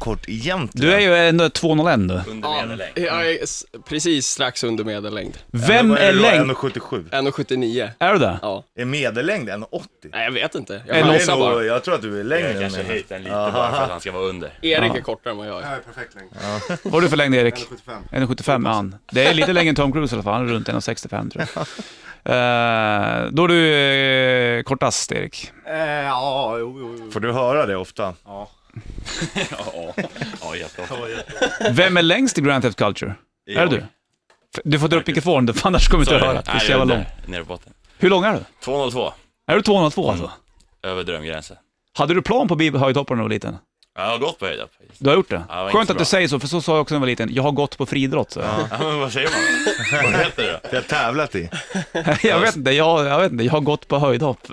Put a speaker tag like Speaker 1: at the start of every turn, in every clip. Speaker 1: kort egentligen.
Speaker 2: Du är ju ändå 201 nu.
Speaker 3: Ja,
Speaker 4: Under medellängd.
Speaker 3: jag är s- precis strax under medellängd.
Speaker 2: Vem
Speaker 1: Vad
Speaker 2: är
Speaker 1: det då?
Speaker 2: längst?
Speaker 1: 1,77.
Speaker 3: 1,79.
Speaker 2: Är du det?
Speaker 3: Ja.
Speaker 1: Är medellängd 1,80?
Speaker 3: Nej, jag vet inte.
Speaker 1: Det
Speaker 3: Jag
Speaker 1: är
Speaker 3: chansar
Speaker 1: nog-
Speaker 3: bara.
Speaker 1: Jag tror att du är längre
Speaker 4: Jag kanske
Speaker 1: än mig.
Speaker 4: höjt den lite bara för att han ska vara under.
Speaker 3: Erik är kortare än vad jag
Speaker 5: Det
Speaker 3: är.
Speaker 5: här är perfekt längd.
Speaker 2: Vad har du för längd Erik?
Speaker 5: 1,75.
Speaker 2: 1,75 är han. Det är lite längre än Tom Cruise i alla fall, han är runt 1,65 tror jag. Eh, då är du eh, kortast Erik.
Speaker 5: Eh, ja, jo, jo, jo.
Speaker 1: Får du höra det ofta?
Speaker 5: Ja.
Speaker 4: Ja, ja jättebra.
Speaker 2: Vem är längst i Grand Theft Culture? Är det du? F- Du får dra upp mikrofonen, för annars kommer inte
Speaker 4: Sorry.
Speaker 2: jag höra. att Du är
Speaker 4: Nej,
Speaker 2: så jävla
Speaker 4: jag är
Speaker 2: lång.
Speaker 4: där, Nere på botten.
Speaker 2: Hur lång är du?
Speaker 4: 202,
Speaker 2: Är du
Speaker 4: Mm.
Speaker 2: 202 alltså?
Speaker 4: över drömgränsen.
Speaker 2: Hade du plan på att bli höjdhoppare när du var liten?
Speaker 4: Ja, Jag har gått på höjd upp.
Speaker 2: Du har gjort det?
Speaker 4: Ja, det var
Speaker 2: Skönt
Speaker 4: inte
Speaker 2: att
Speaker 4: bra.
Speaker 2: du säger så, för så sa jag också när jag var liten. Jag har gått på friidrott, så. jag.
Speaker 4: Ja, men vad säger man då? Vad heter det då?
Speaker 1: Det har jag tävlat i.
Speaker 2: jag, vet inte, jag, jag vet inte, jag har gått på höjdhopp.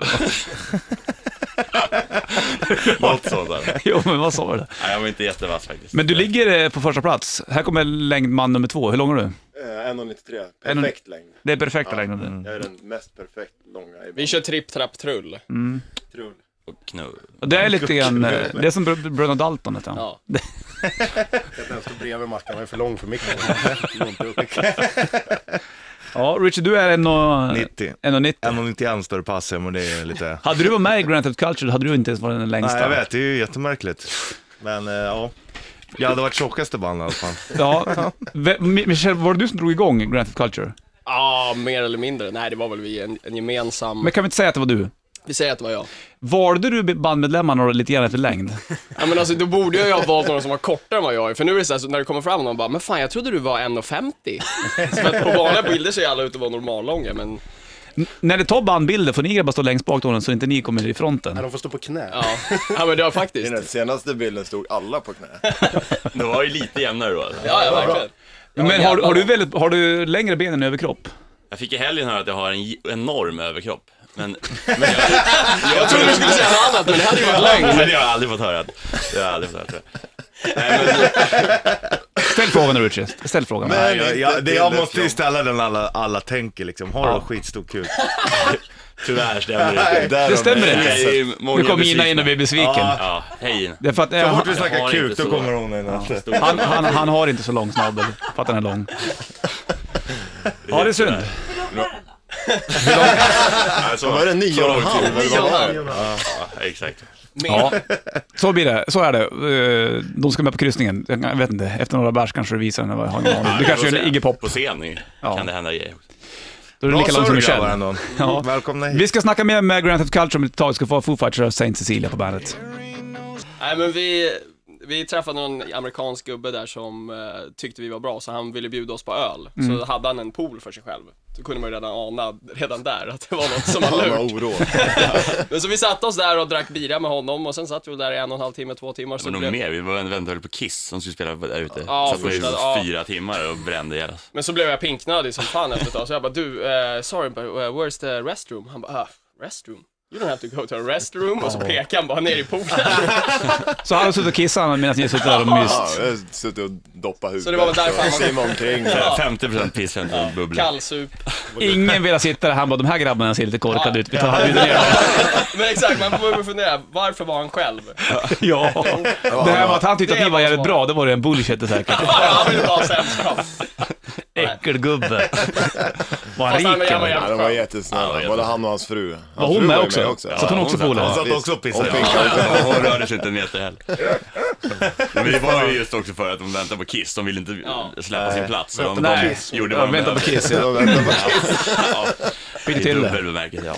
Speaker 4: Något sånt där.
Speaker 2: jo, men vad sa du?
Speaker 4: Nej, jag var inte jättevass faktiskt.
Speaker 2: Men du ligger eh, på första plats. Här kommer längdman nummer två. Hur lång är du?
Speaker 6: Eh, 1,93. Perfekt längd.
Speaker 2: Det är perfekta längden. Mm.
Speaker 6: Jag är den mest perfekt långa i
Speaker 3: Vi kör tripp, trapp, trull.
Speaker 6: Trull.
Speaker 4: Och Knull.
Speaker 2: Det är lite grann, eh, det är som Br- Bröderna Dalton nästan.
Speaker 3: Ja.
Speaker 6: Jag kan inte ens stå bredvid Mackan, han är för lång för micken.
Speaker 2: Ja, Richard, du är en och-
Speaker 1: 90.
Speaker 2: 1,90.
Speaker 1: 1,91 står det på Assem och det är lite...
Speaker 2: Hade du varit med i Grand Theft Culture, hade du inte ens varit den längsta.
Speaker 1: Nej, jag vet, det är ju jättemärkligt. Men eh, ja, jag hade varit tjockaste band i alla fall.
Speaker 2: Ja. Ve- Mi- Michel, var det du som drog igång Grand Theft Culture?
Speaker 3: Ja, mer eller mindre. Nej, det var väl vi en, en gemensam...
Speaker 2: Men kan vi inte säga att det var du?
Speaker 3: Vi säger att det var jag.
Speaker 2: Valde du bandmedlemmarna lite grann efter längd?
Speaker 3: Ja, men alltså, då borde jag ju ha valt någon som var kortare än vad jag är. För nu är det så här, så när det kommer fram någon bara, men fan jag trodde du var 1,50. Så för att på vanliga bilder ser alla ut att vara normallånga, men
Speaker 2: När det tar bandbilder får ni grabbar stå längst bak då, så inte ni kommer i fronten.
Speaker 5: Nej, de får stå på knä.
Speaker 3: ja. Ja, men det har
Speaker 6: I
Speaker 3: faktiskt.
Speaker 6: den senaste bilden stod alla på knä.
Speaker 4: Det var ju lite jämnare då. alltså.
Speaker 3: Ja, ja, verkligen.
Speaker 2: Men har, har, du väldigt, har du längre ben än överkropp?
Speaker 4: Jag fick i helgen höra att jag har en j- enorm överkropp. Men, men jag, jag, jag
Speaker 3: trodde du skulle säga något annat, men det hade ju varit lögn.
Speaker 4: Men det har jag aldrig fått höra. Det har jag aldrig fått höra, tror jag.
Speaker 2: Ställ frågan nu Richard, ställ frågan.
Speaker 1: Nej,
Speaker 6: inte
Speaker 1: jag, jag, det,
Speaker 6: till
Speaker 1: jag
Speaker 6: det
Speaker 1: måste ju
Speaker 6: plan.
Speaker 1: ställa den alla, alla tänker liksom. Har du skitstor kuk?
Speaker 4: Tyvärr stämmer det inte.
Speaker 2: Det stämmer
Speaker 4: Det är
Speaker 2: inte.
Speaker 4: ju många
Speaker 2: Nu kommer Gina in och blir besviken.
Speaker 1: Ja.
Speaker 4: Ja, hej Gina.
Speaker 2: Det är för att, eh,
Speaker 1: Så fort
Speaker 2: han,
Speaker 1: vi snackar
Speaker 4: har
Speaker 1: kuk,
Speaker 4: inte
Speaker 1: då
Speaker 4: så.
Speaker 1: kommer hon in. alltså.
Speaker 2: han, han, han har inte så lång snabel, för att den är lång. Ja, det är synd.
Speaker 4: Alltså,
Speaker 6: Var det nio och en halv? eller vad var det?
Speaker 4: Ja, exakt.
Speaker 2: Ja, så blir det. Så är det. Eh, De ska med på kryssningen. Jag vet inte, efter några bärs kanske du visar den. Jag har ingen aning. Du kanske
Speaker 4: Vi
Speaker 2: gör
Speaker 4: får se.
Speaker 2: en Iggy Pop.
Speaker 4: På scen
Speaker 2: Ja.
Speaker 4: kan det hända grejer också.
Speaker 2: Då är du
Speaker 1: Bra
Speaker 2: lika lång som
Speaker 1: surr grabbar
Speaker 2: Michelle.
Speaker 1: ändå.
Speaker 2: Ja.
Speaker 1: Välkomna hit.
Speaker 2: Vi ska snacka mer med Grand Theft Culture om ett tag. Ska få ha Foo Fighters och Saint Cecilia på bandet.
Speaker 3: Nej, men vi, vi träffade någon amerikansk gubbe där som eh, tyckte vi var bra, så han ville bjuda oss på öl.
Speaker 4: Mm.
Speaker 3: Så hade han en pool för sig själv. Då kunde man ju redan ana, redan där, att det var något som var
Speaker 6: Alla
Speaker 3: lurt.
Speaker 6: oro.
Speaker 3: Men så vi satte oss där och drack bira med honom och sen satt vi där i en och en halv timme, två timmar.
Speaker 4: Det var
Speaker 3: Så
Speaker 4: nog
Speaker 3: blev,
Speaker 4: mer, vi var väntade väl på Kiss som skulle spela där ute.
Speaker 3: Ja,
Speaker 4: Satt vi i
Speaker 3: första- ja.
Speaker 4: fyra timmar och brände ihjäl oss.
Speaker 3: men så blev jag pinknödig som fan efter ett tag, så jag bara du, eh, sorry, but, eh, where's the restroom? Han bara, ah, restroom? You don't have to go to a restroom. Och så pekade han bara ner i poolen.
Speaker 2: Så han har suttit och kissat medan ni har suttit där och
Speaker 6: Ja,
Speaker 2: myst.
Speaker 6: jag har suttit och doppat huvudet.
Speaker 3: Så det var väl därför han var-
Speaker 6: Simma omkring. så här.
Speaker 4: 50% piss, 50% bubbla.
Speaker 3: Kallsup.
Speaker 2: Ingen vill sitta där. Han bara, de här grabbarna ser lite korkade ut. Vi tar han ner dem."
Speaker 3: Men exakt, man får ju fundera, varför var han själv?
Speaker 2: Ja. Det här med att han tyckte att ni var jävligt bra, det var ju en bullshit det säkert.
Speaker 3: Han ville bara ha sällskap.
Speaker 2: Äckelgubbe. Var han
Speaker 3: Fast han var
Speaker 2: rik
Speaker 3: jävla
Speaker 2: eller?
Speaker 6: Ja, de var jättesnälla,
Speaker 4: jättebra.
Speaker 6: både han och hans fru. Hans
Speaker 2: Var hon
Speaker 6: fru
Speaker 2: med
Speaker 6: ju
Speaker 2: också? Satt hon
Speaker 4: Ja,
Speaker 2: också
Speaker 4: hon satt-
Speaker 1: Han
Speaker 2: polare?
Speaker 1: satt också och pissade.
Speaker 6: Hon
Speaker 4: Hon
Speaker 6: fick-
Speaker 4: rörde sig inte en meter heller. Men det var ju just också för att de väntade på Kiss, de ville inte
Speaker 3: Ja.
Speaker 4: släppa sin plats. Så de,
Speaker 2: Nej.
Speaker 4: de gjorde
Speaker 2: Jag
Speaker 4: vad de
Speaker 2: väntar på
Speaker 4: behövde.
Speaker 2: Kiss, ja.
Speaker 4: Ja,
Speaker 2: Skit
Speaker 4: I
Speaker 2: till det.
Speaker 4: dubbel bemärkelse, ja.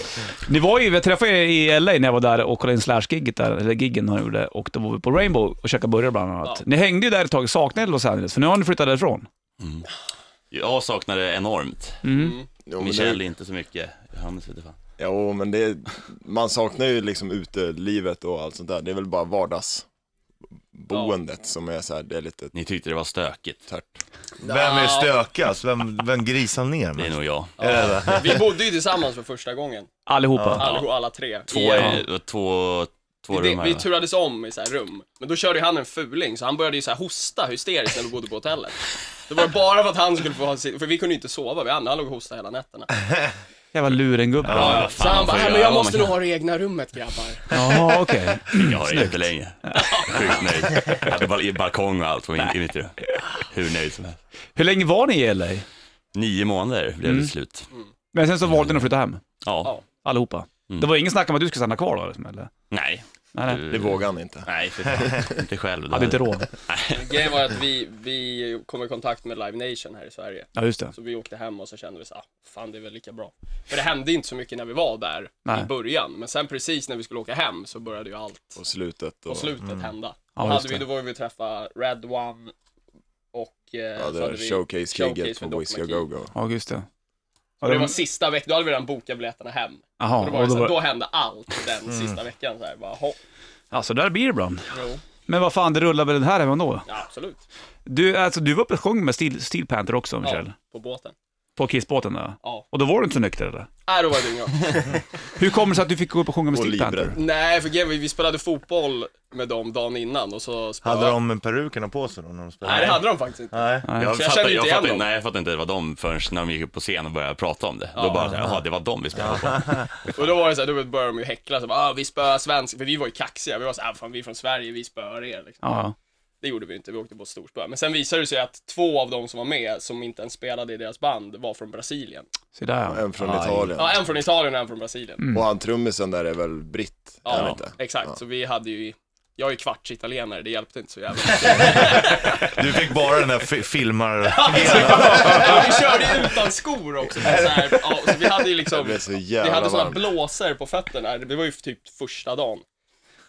Speaker 2: Ni var ju, vi träffade er i LA när jag var där och kollade in Slash-gigget där, eller giggen han gjorde, och då var vi på Rainbow och käkade burgare bland annat.
Speaker 3: Ja.
Speaker 2: Ni hängde ju där ett tag, saknade Los Angeles, för nu har ni flyttat därifrån.
Speaker 4: Jag saknar det enormt.
Speaker 2: Mm.
Speaker 6: Jo, men
Speaker 4: Michel
Speaker 6: det,
Speaker 4: inte så mycket. Johannes vete fan.
Speaker 6: jo, men det, man saknar ju liksom utelivet och allt sånt där. Det är väl bara vardagsboendet som är så här, det är lite
Speaker 4: Ni tyckte det var stökigt.
Speaker 6: tört.
Speaker 1: Vem är stökigast? Vem, vem grisar ner
Speaker 4: Det är
Speaker 1: mest?
Speaker 4: nog jag.
Speaker 3: Vi bodde ju tillsammans för första gången,
Speaker 2: Allihopa.
Speaker 3: alla, alla tre.
Speaker 4: Två,
Speaker 3: I, eh,
Speaker 4: eh, två, två
Speaker 3: vi,
Speaker 4: rum här.
Speaker 3: vi
Speaker 4: va?
Speaker 3: turades om i så här rum, men då körde ju han en fuling, så han började ju så här hosta hysteriskt när vi bodde på hotellet. Det var bara för att han skulle få ha sitt, för vi kunde ju inte sova, vi andra, han låg och hostade hela nätterna.
Speaker 2: Jävla lurengubbe.
Speaker 4: Ja,
Speaker 2: Ja,
Speaker 4: vad
Speaker 3: Så
Speaker 4: fan,
Speaker 3: han
Speaker 4: man
Speaker 3: bara,
Speaker 4: får
Speaker 3: "Nej,
Speaker 4: göra
Speaker 3: men jag
Speaker 4: vad man
Speaker 3: måste
Speaker 4: kan."
Speaker 3: nog ha det egna rummet grabbar.
Speaker 2: ja okej.
Speaker 4: Jag har det jättelänge. Sjukt nöjd. Jag hade bal- balkong och allt på min, i mitt rum. Hur nöjd som helst.
Speaker 2: Hur länge var ni i LA?
Speaker 4: Nio månader blev det slut.
Speaker 2: Men sen så
Speaker 3: Mm.
Speaker 2: valde ni att flytta hem,
Speaker 4: Ja.
Speaker 2: allihopa.
Speaker 4: Mm.
Speaker 2: Det var ingen snack om att du skulle stanna kvar då, liksom, eller?
Speaker 4: Nej.
Speaker 2: Nej, nej.
Speaker 4: Du-
Speaker 3: Mm.
Speaker 6: Det vågar han inte.
Speaker 4: Nej, för fan. Inte själv.
Speaker 2: Hade inte råd.
Speaker 3: Grejen var att vi, vi kom i kontakt med Live Nation här i Sverige.
Speaker 2: Ja, just det.
Speaker 3: Så vi åkte hem och så kände vi så ah, fan det är väl lika bra. För det hände inte så mycket när vi var där
Speaker 2: Nej.
Speaker 3: i början, men sen precis när vi skulle åka hem så började ju allt
Speaker 6: Och Mm. slutet.
Speaker 3: och
Speaker 6: Och...
Speaker 3: slutet hända.
Speaker 2: Ja,
Speaker 3: då,
Speaker 2: just
Speaker 3: hade vi,
Speaker 2: det.
Speaker 3: då var vi träffa Red One och eh,
Speaker 6: Ja, det
Speaker 3: så
Speaker 6: där
Speaker 3: hade vi,
Speaker 6: showcase-kriget
Speaker 3: för
Speaker 6: på Whiskey
Speaker 3: Doc McKee.
Speaker 6: Go Go.
Speaker 2: Ja, just det. Ja,
Speaker 3: och det var sista veckan, då hade vi redan bokat biljetterna hem.
Speaker 2: Jaha,
Speaker 3: och då, var
Speaker 2: och då
Speaker 3: det så, här,
Speaker 2: var- Mm.
Speaker 3: då hände allt den sista veckan så här, bara hopp,
Speaker 2: Alltså, där blir det ibland.
Speaker 3: jo,
Speaker 2: Men vad fan, det rullar väl den här även då?
Speaker 3: ja, absolut.
Speaker 2: Du, alltså, du var uppe och sjöng med Steel, Steel Panther också, Michel.
Speaker 3: Ja, på båten.
Speaker 2: På Kissbåten där.
Speaker 3: Ja.
Speaker 2: Och då var du inte så nykter eller?
Speaker 3: Nej, då var det dynga.
Speaker 2: Hur kommer det sig att du fick gå upp och sjunga med
Speaker 6: Och
Speaker 2: Steel
Speaker 6: Libre.
Speaker 2: Panther?
Speaker 3: Nej, för grejen var, vi spelade fotboll med dem dagen innan och så spelade...
Speaker 1: Hade de perukerna på sig då när de spelade?
Speaker 3: Nej, det hade de faktiskt inte.
Speaker 1: Nej.
Speaker 4: Jag
Speaker 3: Så jag
Speaker 4: fattade,
Speaker 3: kände
Speaker 4: jag,
Speaker 3: inte igen
Speaker 4: fattade,
Speaker 3: dem.
Speaker 4: nej, jag fattade inte att det var dem förrän när de gick upp på scen och började prata om det. Då bara såhär, jaha, det var dem vi spelade på.
Speaker 3: Och då var det så här, då började de ju häckla så bara, ah, vi spöar svensk, för vi var ju kaxiga, vi var så här, ah, fan vi är från Sverige, vi spöar er liksom.
Speaker 2: Ja, ja.
Speaker 3: Det gjorde vi inte, vi åkte på ett storspö. Men sen visade det sig att två av dem som var med, som inte ens spelade i deras band, var från Brasilien.
Speaker 2: Se där ja.
Speaker 6: En från
Speaker 4: Aj.
Speaker 6: Italien.
Speaker 3: Ja, en från Italien och en från Brasilien.
Speaker 6: Och han trummisen där är väl britt?
Speaker 3: Ja,
Speaker 6: är han Mm. inte?
Speaker 3: exakt.
Speaker 6: Ja.
Speaker 3: Så vi hade ju, jag är ju kvarts italienare, det hjälpte inte så jävla
Speaker 1: Du fick bara den där fi- filmar...
Speaker 3: Ja, vi körde ju utan skor också. men Så, här, ja, så vi hade ju
Speaker 6: Det
Speaker 3: liksom,
Speaker 6: blev så
Speaker 3: vi
Speaker 6: jävla
Speaker 3: hade såna
Speaker 6: varmt.
Speaker 3: blåsor på fötterna. Det var ju typ första dagen.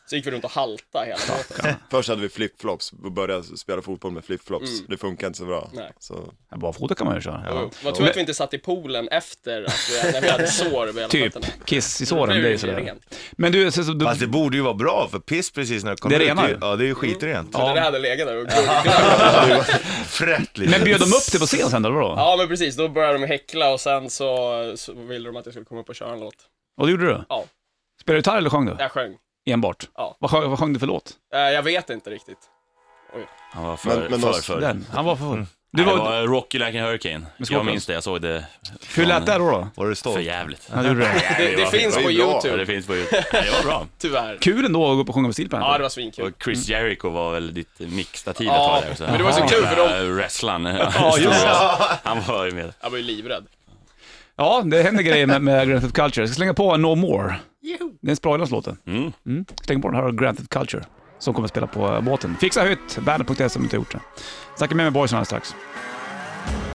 Speaker 3: Så gick vi runt och halta hela dagen.
Speaker 6: Först hade vi flipflops och började spela fotboll med flipflops. Det funkar inte så bra.
Speaker 3: Mm. Nej.
Speaker 6: Så
Speaker 2: Barfota kan man ju köra.
Speaker 3: Ja. Vad tror du att vi inte satt i poolen efter att vi, när vi hade sår över hela fötterna?
Speaker 2: Typ, kiss i
Speaker 3: Då
Speaker 2: såren,
Speaker 3: blev
Speaker 2: det är ju
Speaker 3: ju
Speaker 2: sådär.
Speaker 3: rent.
Speaker 2: Men du, så, så, du
Speaker 1: Fast det borde ju vara bra, för piss precis när det kommer
Speaker 2: Det
Speaker 1: ut,
Speaker 2: renar
Speaker 1: är ju-
Speaker 2: ju.
Speaker 1: Ja, det är ju skitrent.
Speaker 3: Så det hade legat där och gurglat.
Speaker 1: Frätt lite.
Speaker 2: men bjöd de upp dig på scen sen eller vadå?
Speaker 3: Ja men precis, då började de häckla och sen så, så ville de att jag skulle komma upp och köra en låt.
Speaker 2: Och det gjorde du?
Speaker 3: Ja.
Speaker 2: Spelade du gitarr eller sjöng du?
Speaker 3: Jag sjöng.
Speaker 2: Enbart?
Speaker 3: Ja.
Speaker 2: Vad, sjöng, vad sjöng du för låt?
Speaker 3: Eh, Jag vet inte riktigt.
Speaker 4: Han var för,
Speaker 6: Men- men
Speaker 4: för,
Speaker 6: oss-
Speaker 4: för.
Speaker 2: Den? Han var för full. Du
Speaker 4: Du var... Det
Speaker 2: var,
Speaker 4: var Rocky Like a Hurricane. Jag
Speaker 2: Scorpions.
Speaker 4: minns det, jag såg det.
Speaker 2: hur lät det då? då?
Speaker 1: Var du
Speaker 4: För
Speaker 1: stolt?
Speaker 4: jävligt.
Speaker 2: Ja, du gjorde det.
Speaker 3: Det, det finns
Speaker 6: det
Speaker 3: på
Speaker 6: var ju bra.
Speaker 4: Ja,
Speaker 3: YouTube,
Speaker 4: det finns på YouTube. Ja, Det var bra.
Speaker 3: tyvärr.
Speaker 2: Kul ändå att gå upp och sjunga med Steel Panther.
Speaker 3: Ja det var svinkul.
Speaker 4: Och Chris Jericho var väl ditt mixstativ ett
Speaker 3: Ja,
Speaker 4: tag där också.
Speaker 3: men det var så kul för de-
Speaker 4: Ja, Wrestlaren.
Speaker 2: Ja, just
Speaker 4: Han var ju med.
Speaker 3: Jag var ju livrädd.
Speaker 2: Ja, det händer grejer med, med Grand Theft Culture. Jag ska slänga på No More. Det är en sprajlans låten.
Speaker 4: Mm.
Speaker 2: Mm. Släng på den här och Grand Theft Culture som kommer att spela på eh, båten. Fixa hytt, bandet.se om du inte har gjort det. Snacka med mig boysen alldeles strax.